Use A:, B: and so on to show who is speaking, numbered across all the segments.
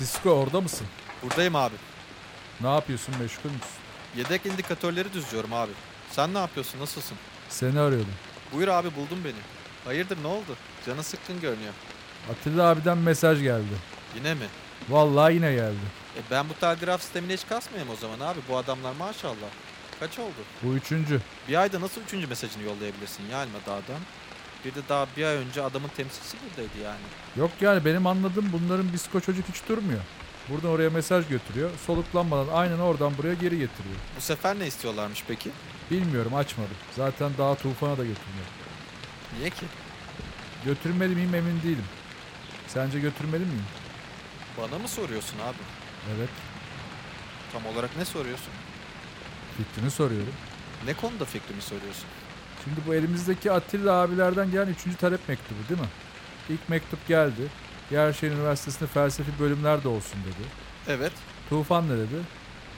A: Disko orada mısın?
B: Buradayım abi.
A: Ne yapıyorsun meşgul müsün?
B: Yedek indikatörleri düzlüyorum abi. Sen ne yapıyorsun? Nasılsın?
A: Seni arıyordum.
B: Buyur abi buldun beni. Hayırdır ne oldu? Canı sıkkın görünüyor.
A: Atilla abiden mesaj geldi.
B: Yine mi?
A: Vallahi yine geldi.
B: E ben bu telgraf sistemine hiç kasmayayım o zaman abi. Bu adamlar maşallah. Kaç oldu?
A: Bu üçüncü.
B: Bir ayda nasıl üçüncü mesajını yollayabilirsin ya Elma Dağ'dan? Bir de daha bir ay önce adamın temsilcisi buradaydı yani.
A: Yok yani benim anladığım bunların bisko çocuk hiç durmuyor. Buradan oraya mesaj götürüyor. Soluklanmadan aynen oradan buraya geri getiriyor.
B: Bu sefer ne istiyorlarmış peki?
A: Bilmiyorum açmadım. Zaten daha tufana da götürmüyor.
B: Niye ki?
A: Götürmeli miyim emin değilim. Sence götürmeli miyim?
B: Bana mı soruyorsun abi?
A: Evet.
B: Tam olarak ne soruyorsun?
A: Fikrini soruyorum.
B: Ne konuda fikrimi soruyorsun?
A: Şimdi bu elimizdeki Atilla abilerden gelen üçüncü talep mektubu değil mi? İlk mektup geldi. Yerşehir Üniversitesi'nde felsefi bölümler de olsun dedi.
B: Evet,
A: Tufan ne dedi?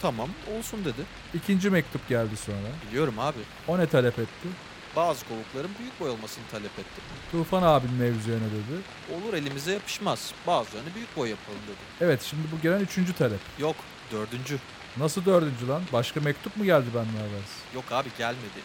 B: tamam olsun dedi.
A: İkinci mektup geldi sonra.
B: Biliyorum abi.
A: O ne talep etti?
B: Bazı kovukların büyük boy olmasını talep etti.
A: Tufan abinin mevzuya ne dedi?
B: Olur elimize yapışmaz. Bazılarını büyük boy yapalım dedi.
A: Evet şimdi bu gelen üçüncü talep.
B: Yok, dördüncü.
A: Nasıl dördüncü lan? Başka mektup mu geldi benden habersiz?
B: Yok abi gelmedi.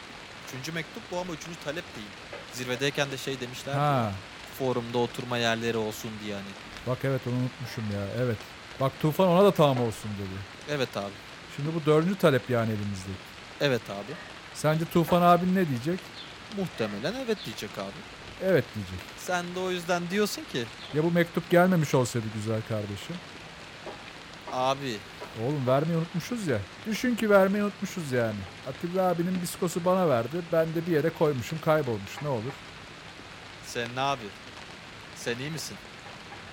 B: Üçüncü mektup bu ama üçüncü talep değil. Zirvedeyken de şey demişler.
A: Ha,
B: Forumda oturma yerleri olsun diye hani.
A: bak evet onu unutmuşum ya evet. Bak Tufan ona da tamam olsun dedi.
B: Evet abi.
A: Şimdi bu dördüncü talep yani elimizdeki.
B: Evet abi.
A: Sence Tufan abin ne diyecek?
B: Muhtemelen evet diyecek abi.
A: Evet diyecek.
B: Sen de o yüzden diyorsun ki
A: Ya bu mektup gelmemiş olsaydı güzel kardeşim.
B: abi
A: Oğlum vermeyi unutmuşuz ya. Düşün ki vermeyi unutmuşuz yani. Atilla abinin diskosu bana verdi. Ben de bir yere koymuşum kaybolmuş ne olur.
B: sen ne abi? Sen iyi misin?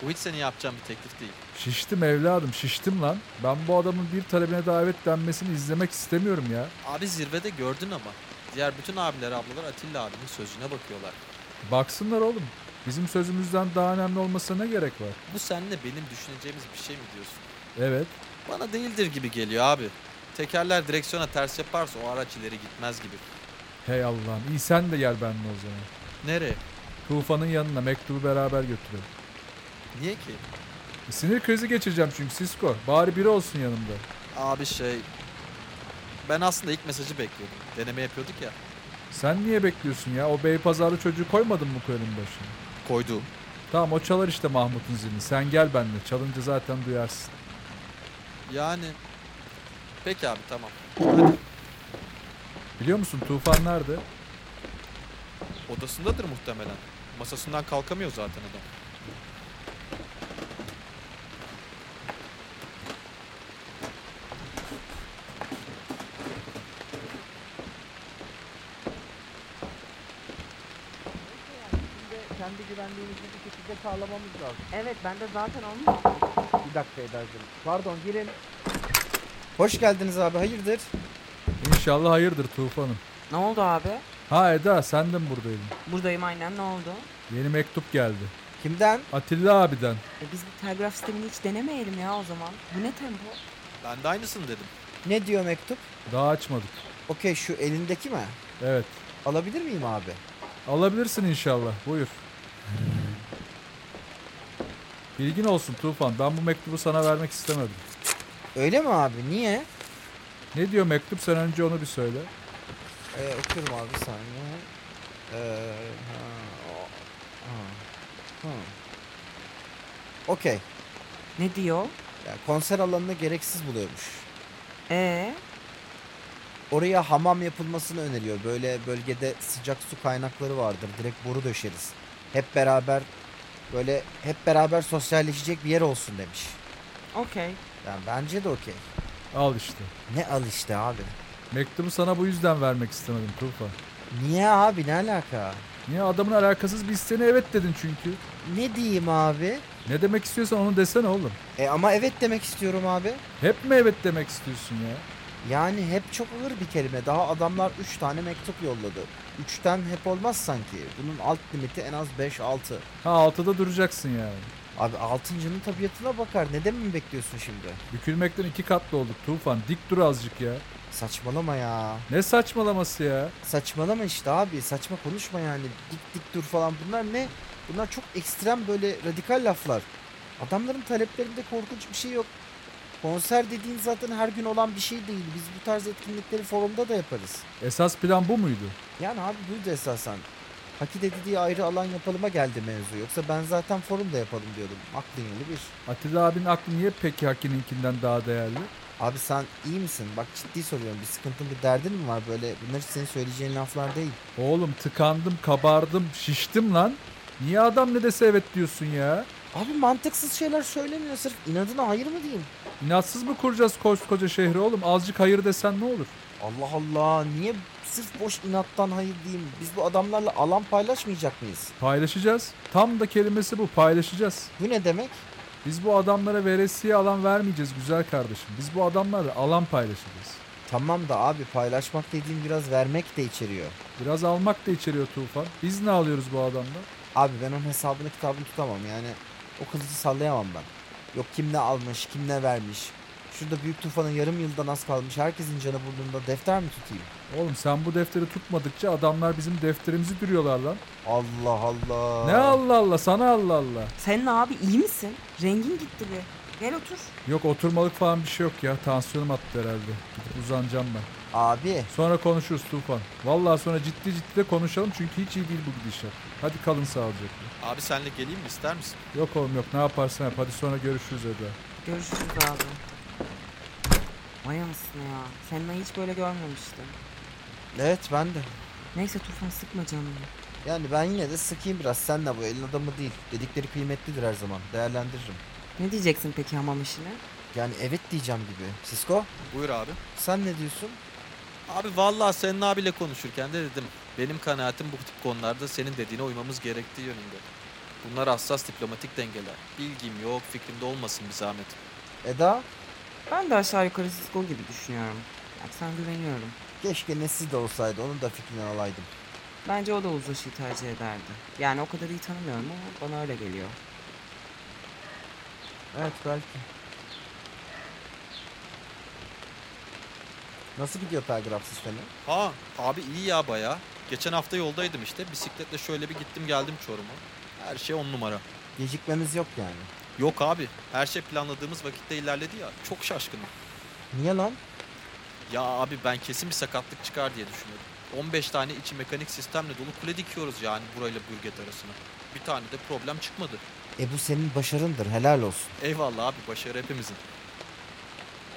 B: Bu hiç senin yapacağın bir teklif değil.
A: Şiştim evladım şiştim lan. Ben bu adamın bir talebine davet denmesini izlemek istemiyorum ya.
B: Abi zirvede gördün ama. Diğer bütün abiler ablalar Atilla abinin sözüne bakıyorlar.
A: Baksınlar oğlum. Bizim sözümüzden daha önemli olmasına ne gerek var?
B: Bu seninle benim düşüneceğimiz bir şey mi diyorsun?
A: Evet.
B: Bana değildir gibi geliyor abi. Tekerler direksiyona ters yaparsa o araç ileri gitmez gibi.
A: Hey Allah'ım iyi sen de gel benimle o zaman.
B: Nereye?
A: Tufan'ın yanına mektubu beraber götürelim.
B: Niye ki?
A: E, Sinir krizi geçireceğim çünkü Sisko. Bari biri olsun yanımda.
B: Abi şey... Ben aslında ilk mesajı bekliyordum. Deneme yapıyorduk ya.
A: Sen niye bekliyorsun ya? O bey pazarlı çocuğu koymadın mı koyunun başına?
B: Koyduğum.
A: Tamam o çalar işte Mahmut'un zilini. Sen gel benimle. Çalınca zaten duyarsın.
B: Yani... Peki abi tamam. Hadi.
A: Biliyor musun Tufan nerede?
B: Odasındadır muhtemelen. Masasından kalkamıyor zaten adam.
C: Şimdi kendi güvenliğimizi bir şekilde sağlamamız lazım.
D: Evet bende zaten olmuş.
C: Bir dakika Eda'cığım. Pardon girin.
E: Hoş geldiniz abi hayırdır?
A: İnşallah hayırdır Tufan'ım.
D: Ne oldu abi?
A: Ha Eda sen de mi buradaydın?
D: Buradayım aynen ne oldu?
A: Yeni mektup geldi.
E: Kimden?
A: Atilla abiden.
D: E biz bu telgraf sistemini hiç denemeyelim ya o zaman. Bu ne tempo?
B: Ben de aynısını dedim.
E: Ne diyor mektup?
A: Daha açmadık.
E: Okey şu elindeki mi?
A: Evet.
E: Alabilir miyim abi?
A: Alabilirsin inşallah. Buyur. Bilgin olsun Tufan. Ben bu mektubu sana vermek istemedim.
E: Öyle mi abi? Niye?
A: Ne diyor mektup? Sen önce onu bir söyle.
E: Ee, okuyorum abi bir saniye. Ee, ha, o- ha, hı. Okey.
D: Ne diyor?
E: Ya konser alanını gereksiz buluyormuş.
D: Ee
E: Oraya hamam yapılmasını öneriyor. Böyle bölgede sıcak su kaynakları vardır. Direkt boru döşeriz. Hep beraber böyle hep beraber sosyalleşecek bir yer olsun demiş.
D: okey.
E: Yani bence de okey.
A: Al işte.
E: Ne al işte abi.
A: Mektubu sana bu yüzden vermek istemedim Tufan.
E: Niye abi ne alaka?
A: Niye adamın alakasız bir isteğine evet dedin çünkü.
E: Ne diyeyim abi?
A: Ne demek istiyorsan onu desene oğlum.
E: E ama evet demek istiyorum abi.
A: Hep mi evet demek istiyorsun ya?
E: Yani hep çok ağır bir kelime. Daha adamlar 3 tane mektup yolladı. 3'ten hep olmaz sanki. Bunun alt limiti en az 5-6.
A: Ha altıda duracaksın yani.
E: Abi 6.'nın tabiatına bakar. Ne dememi bekliyorsun şimdi?
A: Bükülmekten iki katlı olduk Tufan. Dik dur azıcık ya.
E: Saçmalama ya.
A: Ne saçmalaması ya?
E: Saçmalama işte abi. Saçma konuşma yani. Dik dik dur falan. Bunlar ne? Bunlar çok ekstrem böyle radikal laflar. Adamların taleplerinde korkunç bir şey yok. Konser dediğin zaten her gün olan bir şey değil. Biz bu tarz etkinlikleri forumda da yaparız.
A: Esas plan bu muydu?
E: Yani abi buydu esasen. Hakide dediği ayrı alan yapalıma geldi mevzu. Yoksa ben zaten forumda yapalım diyordum. Aklın yolu bir.
A: Atilla abinin aklı niye peki Haki'ninkinden daha değerli?
E: Abi sen iyi misin? Bak ciddi soruyorum. Bir sıkıntın bir derdin mi var? Böyle bunlar hiç senin söyleyeceğin laflar değil.
A: Oğlum tıkandım, kabardım, şiştim lan. Niye adam ne dese evet diyorsun ya?
E: Abi mantıksız şeyler söylemiyor. Sırf inadına hayır mı diyeyim?
A: İnatsız mı kuracağız koskoca şehri oğlum? Azıcık hayır desen ne olur?
E: Allah Allah. Niye sırf boş inattan hayır diyeyim? Biz bu adamlarla alan paylaşmayacak mıyız?
A: Paylaşacağız. Tam da kelimesi bu paylaşacağız.
E: Bu ne demek?
A: Biz bu adamlara veresiye alan vermeyeceğiz güzel kardeşim. Biz bu adamlarla alan paylaşacağız.
E: Tamam da abi paylaşmak dediğim biraz vermek de içeriyor.
A: Biraz almak da içeriyor Tufan. Biz ne alıyoruz bu adamdan?
E: Abi ben onun hesabını kitabını tutamam yani. O kılıcı sallayamam ben. Yok kim ne almış, kim ne vermiş. Şurada büyük tufanın yarım yıldan az kalmış herkesin canı burnunda defter mi tutayım?
A: Oğlum sen bu defteri tutmadıkça adamlar bizim defterimizi dürüyorlar lan.
E: Allah Allah.
A: Ne Allah Allah sana Allah Allah.
D: Senin abi iyi misin? Rengin gitti bir. Gel otur.
A: Yok oturmalık falan bir şey yok ya. Tansiyonum attı herhalde. Gidip uzanacağım ben.
E: Abi
A: Sonra konuşuruz Tufan. Vallahi sonra ciddi ciddi de konuşalım çünkü hiç iyi değil bu gidişat. Hadi kalın sağlıcakla.
B: Abi senle geleyim mi ister misin?
A: Yok oğlum yok ne yaparsan yap. Hadi sonra görüşürüz Eda.
D: Görüşürüz abi. Vay anasını ya. Seninle hiç böyle görmemiştim.
E: evet ben de.
D: Neyse Tufan sıkma canını.
E: Yani ben yine de sıkayım biraz sen de bu elin adamı değil. Dedikleri kıymetlidir her zaman değerlendiririm.
D: Ne diyeceksin peki hamam işine?
E: Yani evet diyeceğim gibi. Sisko
B: Buyur abi.
E: sen ne diyorsun?
B: Abi vallahi senin abiyle konuşurken de dedim. Benim kanaatim bu tip konularda senin dediğine uymamız gerektiği yönünde. Bunlar hassas diplomatik dengeler. Bilgim yok, fikrimde olmasın bir zahmet.
E: Eda
D: Ben de aşağı yukarı Cisco gibi düşünüyorum. Yani sen güveniyorum.
E: keşke nesi de olsaydı onun da fikrini alaydım.
D: Bence o da uzlaşıyı tercih ederdi. Yani o kadar iyi tanımıyorum ama bana öyle geliyor.
E: Evet belki. Nasıl gidiyor telgraf sistemi?
B: Ha abi iyi ya baya. Geçen hafta yoldaydım işte. Bisikletle şöyle bir gittim geldim Çorum'a. Her şey on numara.
E: Gecikmemiz yok yani.
B: Yok abi. Her şey planladığımız vakitte ilerledi ya. Çok şaşkınım.
E: Niye lan?
B: Ya abi ben kesin bir sakatlık çıkar diye düşünüyordum. 15 tane içi mekanik sistemle dolu kule dikiyoruz yani burayla Bürget arasına. Bir tane de problem çıkmadı.
E: E bu senin başarındır helal olsun.
B: Eyvallah abi başarı hepimizin.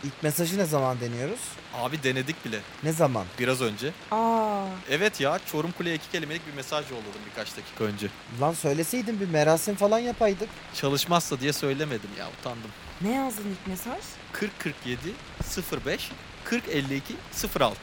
E: İlk mesajı ne zaman deniyoruz?
B: Abi denedik bile
E: Ne zaman?
B: biraz önce.
D: Aa,
B: Evet ya Çorum Kule'ye iki kelimelik bir mesaj yolladım birkaç dakika önce.
E: Lan söyleseydin bir merasim falan yapaydık.
B: Çalışmazsa diye söylemedim ya utandım.
D: ne yazdın ilk mesaj?
B: 40 47 05 40 52 06.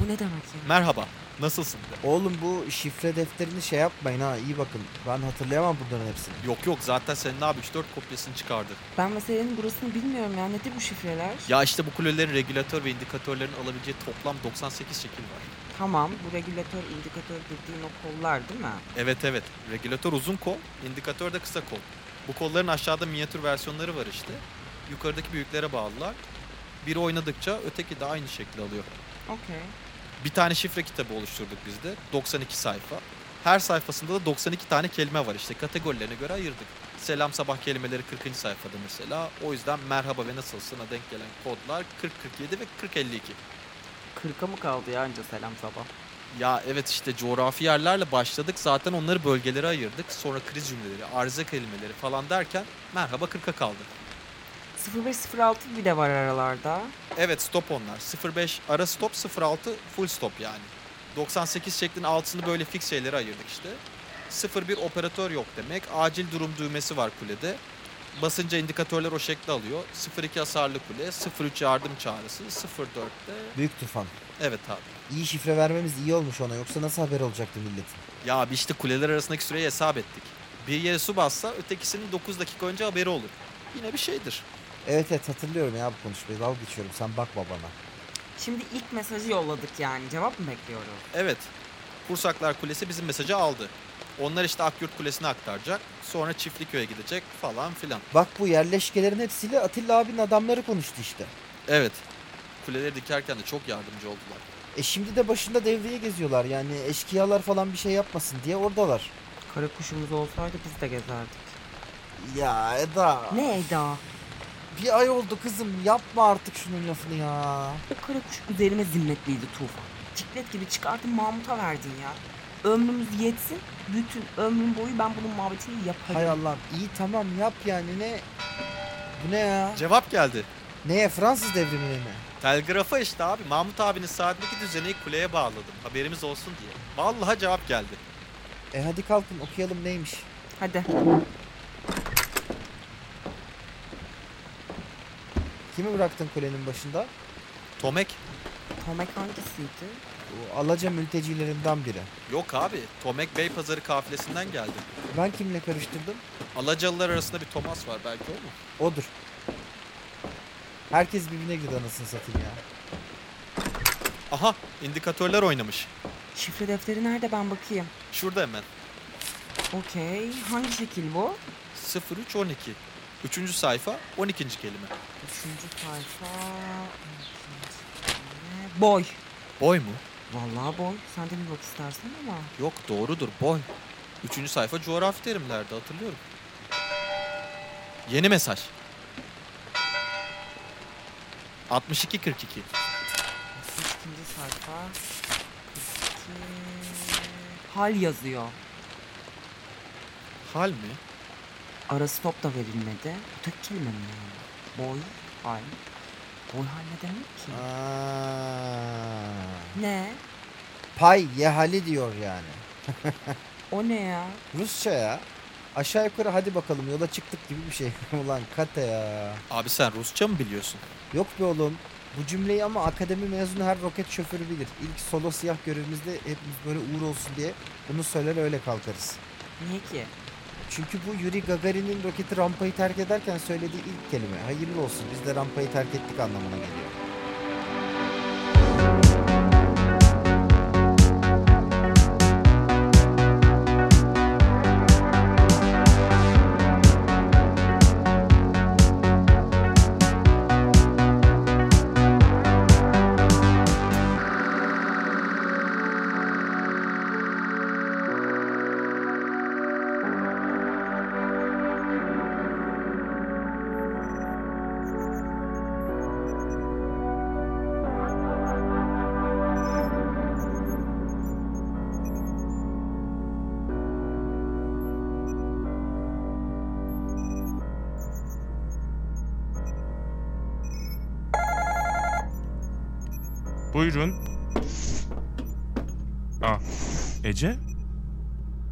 D: O ne demek ya?
B: Merhaba. Nasılsın?
E: Oğlum bu şifre defterini şey yapmayın ha iyi bakın. Ben hatırlayamam bunların hepsini.
B: Yok yok zaten senin abi 3-4 kopyasını çıkardı.
D: Ben meselenin burasını bilmiyorum ya. Nedir bu şifreler?
B: Ya işte bu kulelerin regülatör ve indikatörlerin alabileceği toplam 98 şekil var.
D: Tamam, bu regülatör, indikatör dediğin o kollar değil mi?
B: Evet evet. Regülatör uzun kol, indikatör de kısa kol. Bu kolların aşağıda minyatür versiyonları var işte. Yukarıdaki büyüklere bağlılar. Biri oynadıkça öteki de aynı şekli alıyor.
D: Okey.
B: Bir tane şifre kitabı oluşturduk biz de. 92 sayfa. Her sayfasında da 92 tane kelime var işte. Kategorilerine göre ayırdık. Selam sabah kelimeleri 40. sayfada mesela. O yüzden merhaba ve nasılsın'a denk gelen kodlar 40 47 ve 40 52.
D: Kırka mı kaldı ya anca selam sabah?
B: Ya evet işte coğrafi yerlerle başladık. Zaten onları bölgelere ayırdık. Sonra kriz cümleleri, arıza kelimeleri falan derken merhaba 40'a kaldı.
D: 0506 bir de var aralarda.
B: Evet stop onlar. 05 ara stop 06 full stop yani. 98 şeklin altını böyle fix şeylere ayırdık işte. 01 operatör yok demek. Acil durum düğmesi var kulede. Basınca indikatörler o şekli alıyor. 02 hasarlı kule, 03 yardım çağrısı, 04'te
E: Büyük tufan.
B: evet abi.
E: İyi şifre vermemiz iyi olmuş ona yoksa nasıl haber olacaktı milletin?
B: Ya abi işte kuleler arasındaki süreyi hesap ettik. Bir yere su bassa ötekisinin 9 dakika önce haberi olur. Yine bir şeydir.
E: Evet evet hatırlıyorum ya bu konuşmayı. Dalga geçiyorum sen bakma bana.
D: Şimdi ilk mesajı yolladık yani. Cevap mı bekliyoruz?
B: Evet. Kursaklar Kulesi bizim mesajı aldı. Onlar işte Akyurt Kulesi'ne aktaracak. Sonra Çiftliköy'e gidecek falan filan.
E: Bak bu yerleşkelerin hepsiyle Atilla abinin adamları konuştu işte.
B: Evet. Kuleleri dikerken de çok yardımcı oldular.
E: E şimdi de başında devreye geziyorlar yani eşkıyalar falan bir şey yapmasın diye oradalar.
D: Kara kuşumuz olsaydı biz de gezerdik.
E: Ya Eda.
D: Ne Eda?
E: Bir ay oldu kızım yapma artık şunun lafını ya.
D: O kara kuş üzerime zimmetliydi Tufan. Çiklet gibi çıkardın Mahmut'a verdin ya. Ömrümüz yetsin. Bütün ömrüm boyu ben bunun muhabbetini yaparım.
E: Hay Allah'ım iyi tamam yap yani ne? Bu ne ya?
B: Cevap geldi.
E: Neye Fransız devrimine mi?
B: Telgrafa işte abi. Mahmut abinin saatindeki düzeni kuleye bağladım. Haberimiz olsun diye. Vallahi cevap geldi.
E: E hadi kalkın okuyalım neymiş.
D: Hadi.
E: Kimi bıraktın kulenin başında?
B: Tomek.
D: Tomek hangisiydi?
E: Bu Alaca mültecilerinden biri.
B: Yok abi. Tomek Beypazarı kafilesinden geldi.
E: Ben kimle karıştırdım?
B: Alacalılar arasında bir Thomas var belki o mu?
E: Odur. Herkes birbirine girdi anasını satayım ya.
B: Aha indikatörler oynamış.
D: Şifre defteri nerede ben bakayım.
B: Şurada hemen.
D: Okey. Hangi şekil bu?
B: 0312. Üçüncü sayfa 12. kelime.
D: Üçüncü sayfa. Boy.
B: Boy mu?
D: Vallahi boy. Sen de bir bak istersen ama.
B: Yok doğrudur boy. Üçüncü sayfa coğrafi terimlerde hatırlıyorum. Yeni mesaj. 6242.
D: İkinci sayfa. İki. Hal yazıyor.
B: Hal mi?
D: Arası top da verilmedi. Bu tek kelime mi yani? Boy, hal. Boy hal ne demek ki?
E: Aa,
D: Ne?
E: pay yehali diyor yani.
D: O ne ya?
E: Rusça ya. Aşağı yukarı hadi bakalım yola çıktık gibi bir şey. Ulan kate ya.
B: Abi sen Rusça mı biliyorsun?
E: Yok be oğlum. Bu cümleyi ama akademi mezunu her roket şoförü bilir. İlk solo siyah görevimizde hepimiz böyle uğur olsun diye bunu söyler öyle kalkarız.
D: Niye ki?
E: Çünkü bu Yuri Gagarin'in roketi rampayı terk ederken söylediği ilk kelime. Hayırlı olsun biz de rampayı terk ettik anlamına geliyor.
F: Buyurun. Aa, Ece,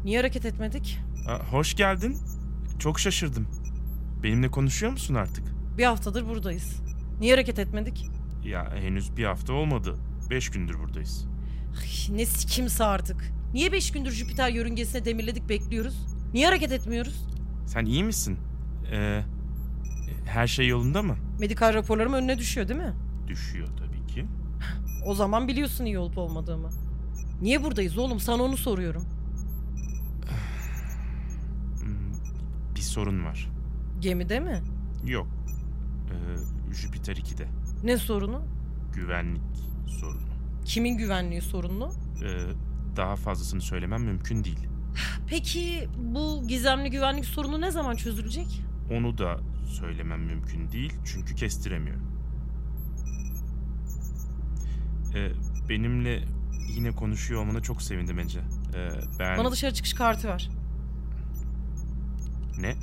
G: Niye hareket etmedik?
F: Aa, hoş geldin. Çok şaşırdım. Benimle konuşuyor musun artık?
G: Bir haftadır buradayız. Niye hareket etmedik?
F: Ya henüz bir hafta olmadı. Beş gündür buradayız.
G: Ay, ne sikimse artık. Niye beş gündür Jüpiter yörüngesine demirledik bekliyoruz? Niye hareket etmiyoruz?
F: Sen iyi misin? Ee, her şey yolunda mı?
G: Medikal raporlarım önüne düşüyor değil mi?
F: Düşüyor tabii ki.
G: O zaman biliyorsun iyi olup olmadığımı. Niye buradayız oğlum? Sana onu soruyorum.
F: Hmm, Bir sorun var.
G: Gemide mi?
F: Yok. Ee, Jüpiter 2'de.
G: Ne sorunu?
F: Güvenlik sorunu.
G: Kimin güvenliği sorunlu?
F: Ee, daha fazlasını söylemem mümkün değil.
G: Peki bu gizemli güvenlik sorunu ne zaman çözülecek?
F: Onu da söylemem mümkün değil çünkü kestiremiyorum. Ee, benimle yine konuşuyor olmana çok sevindim Ece. Ee, ben...
G: Bana dışarı çıkış kartı ver.
F: Ne?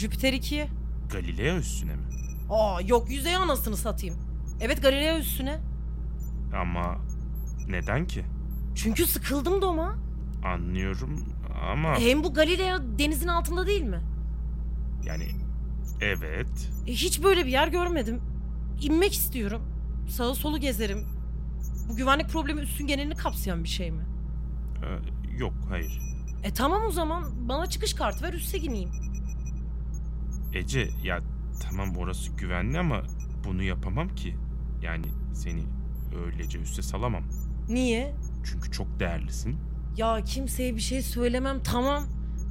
G: Jüpiter 2'ye.
F: Galileo üstüne mi?
G: Aa yok yüzeye anasını satayım. Evet Galileo üstüne.
F: Ama neden ki?
G: Çünkü sıkıldım doma.
F: Anlıyorum ama
G: Hem bu Galileo denizin altında değil mi?
F: yani evet.
G: E, hiç böyle bir yer görmedim. İnmek istiyorum. Sağa solu gezerim. Bu güvenlik problemi üstün genelini kapsayan bir şey mi?
F: Ee, yok hayır.
G: E tamam o zaman bana çıkış kartı ver üste ineyim.
F: Ece ya tamam orası güvenli ama bunu yapamam ki. Yani seni öylece üste salamam.
G: Niye?
F: Çünkü çok değerlisin.
G: Ya kimseye bir şey söylemem tamam.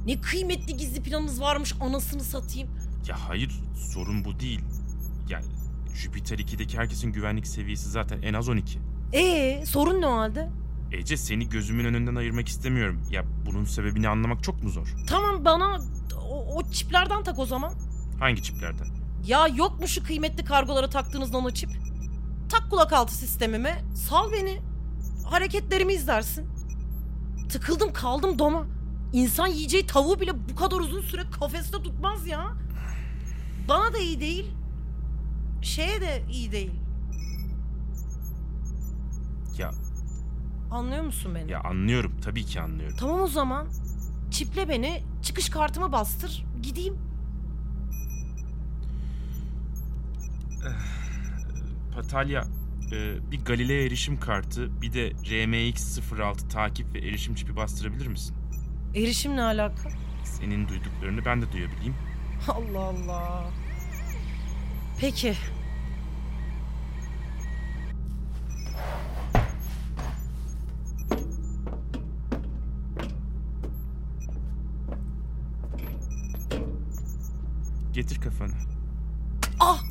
G: Ne kıymetli gizli planınız varmış anasını satayım.
F: Ya hayır sorun bu değil. Yani Jüpiter 2'deki herkesin güvenlik seviyesi zaten en az 12.
G: E sorun ne o halde?
F: Ece seni gözümün önünden ayırmak istemiyorum. Ya bunun sebebini anlamak çok mu zor?
G: Tamam bana o, o, o çiplerden tak o zaman.
F: Hangi çiplerden?
G: Ya yok mu şu kıymetli kargolara taktığınız nano çip? Tak kulak altı sistemime, sal beni. Hareketlerimi izlersin. Tıkıldım kaldım doma. İnsan yiyeceği tavuğu bile bu kadar uzun süre kafeste tutmaz ya. Bana da iyi değil. Şeye de iyi değil.
F: Ya
G: Anlıyor musun beni?
F: ya anlıyorum tabii ki anlıyorum.
G: Tamam o zaman. Çiple beni, çıkış kartımı bastır, gideyim.
F: Patalya e, bir Galileo erişim kartı bir de RMX 06 takip ve erişim çipi bastırabilir misin?
G: Erişim ne alaka?
F: Senin duyduklarını ben de duyabileyim.
G: Allah Allah. Peki.
F: Getir kafanı.
G: Ah!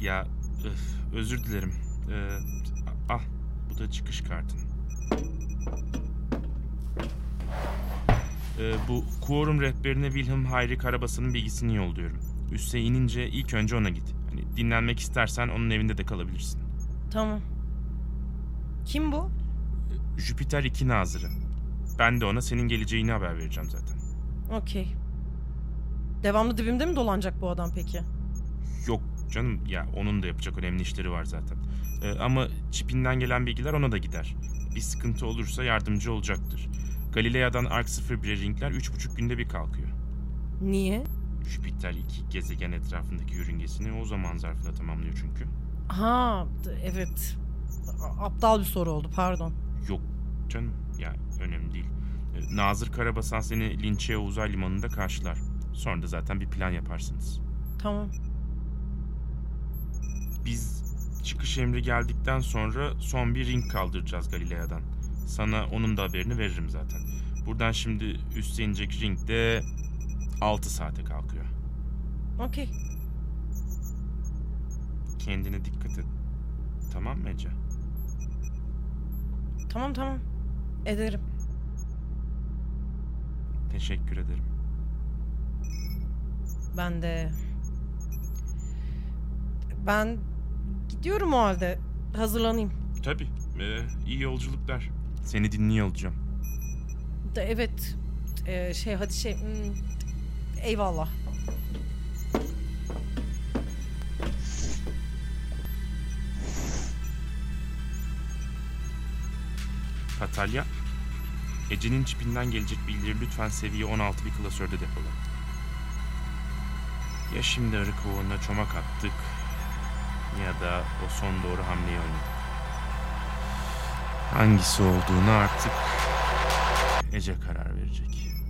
F: Ya öf, özür dilerim. Ee, al bu da çıkış kartın. Ee, bu quorum rehberine Wilhelm Hayri Karabasa'nın bilgisini yolluyorum. Üste inince ilk önce ona git. Hani dinlenmek istersen onun evinde de kalabilirsin.
G: Tamam. Kim bu?
F: Jüpiter 2 nazırı. Ben de ona senin geleceğini haber vereceğim zaten.
G: Okey. Devamlı dibimde mi dolanacak bu adam peki?
F: Yok canım ya onun da yapacak önemli işleri var zaten. Ee, ama çipinden gelen bilgiler ona da gider. Bir sıkıntı olursa yardımcı olacaktır. Galileo'dan Ark 01'e ringler 3,5 günde bir kalkıyor.
G: Niye?
F: Jüpiter 2 gezegen etrafındaki yörüngesini o zaman zarfında tamamlıyor çünkü.
G: Ha, d- evet. A- aptal bir soru oldu, pardon.
F: Yok canım ya önemli değil. Ee, Nazır Karabasan seni Linçe Uzay Limanı'nda karşılar. Sonra da zaten bir plan yaparsınız.
G: Tamam.
F: Biz çıkış emri geldikten sonra son bir ring kaldıracağız Galilea'dan. Sana onun da haberini veririm zaten. Buradan şimdi üste inecek ring de 6 saate kalkıyor.
G: Okey.
F: Kendine dikkat et. Tamam mı Ece?
G: Tamam tamam. Ederim.
F: Teşekkür ederim.
G: Ben de... Ben gidiyorum o halde. Hazırlanayım.
F: Tabii. Ee, iyi yolculuklar. Seni dinliyor olacağım.
G: De, evet. Ee, şey hadi şey... hmm, Eyvallah.
F: Patalya, Ece'nin çipinden gelecek bilgileri lütfen seviye 16 bir klasörde depola. Ya şimdi arı kovanına çomak attık ya da o son doğru hamleyi oynadık. Hangisi olduğunu artık Ece karar verecek.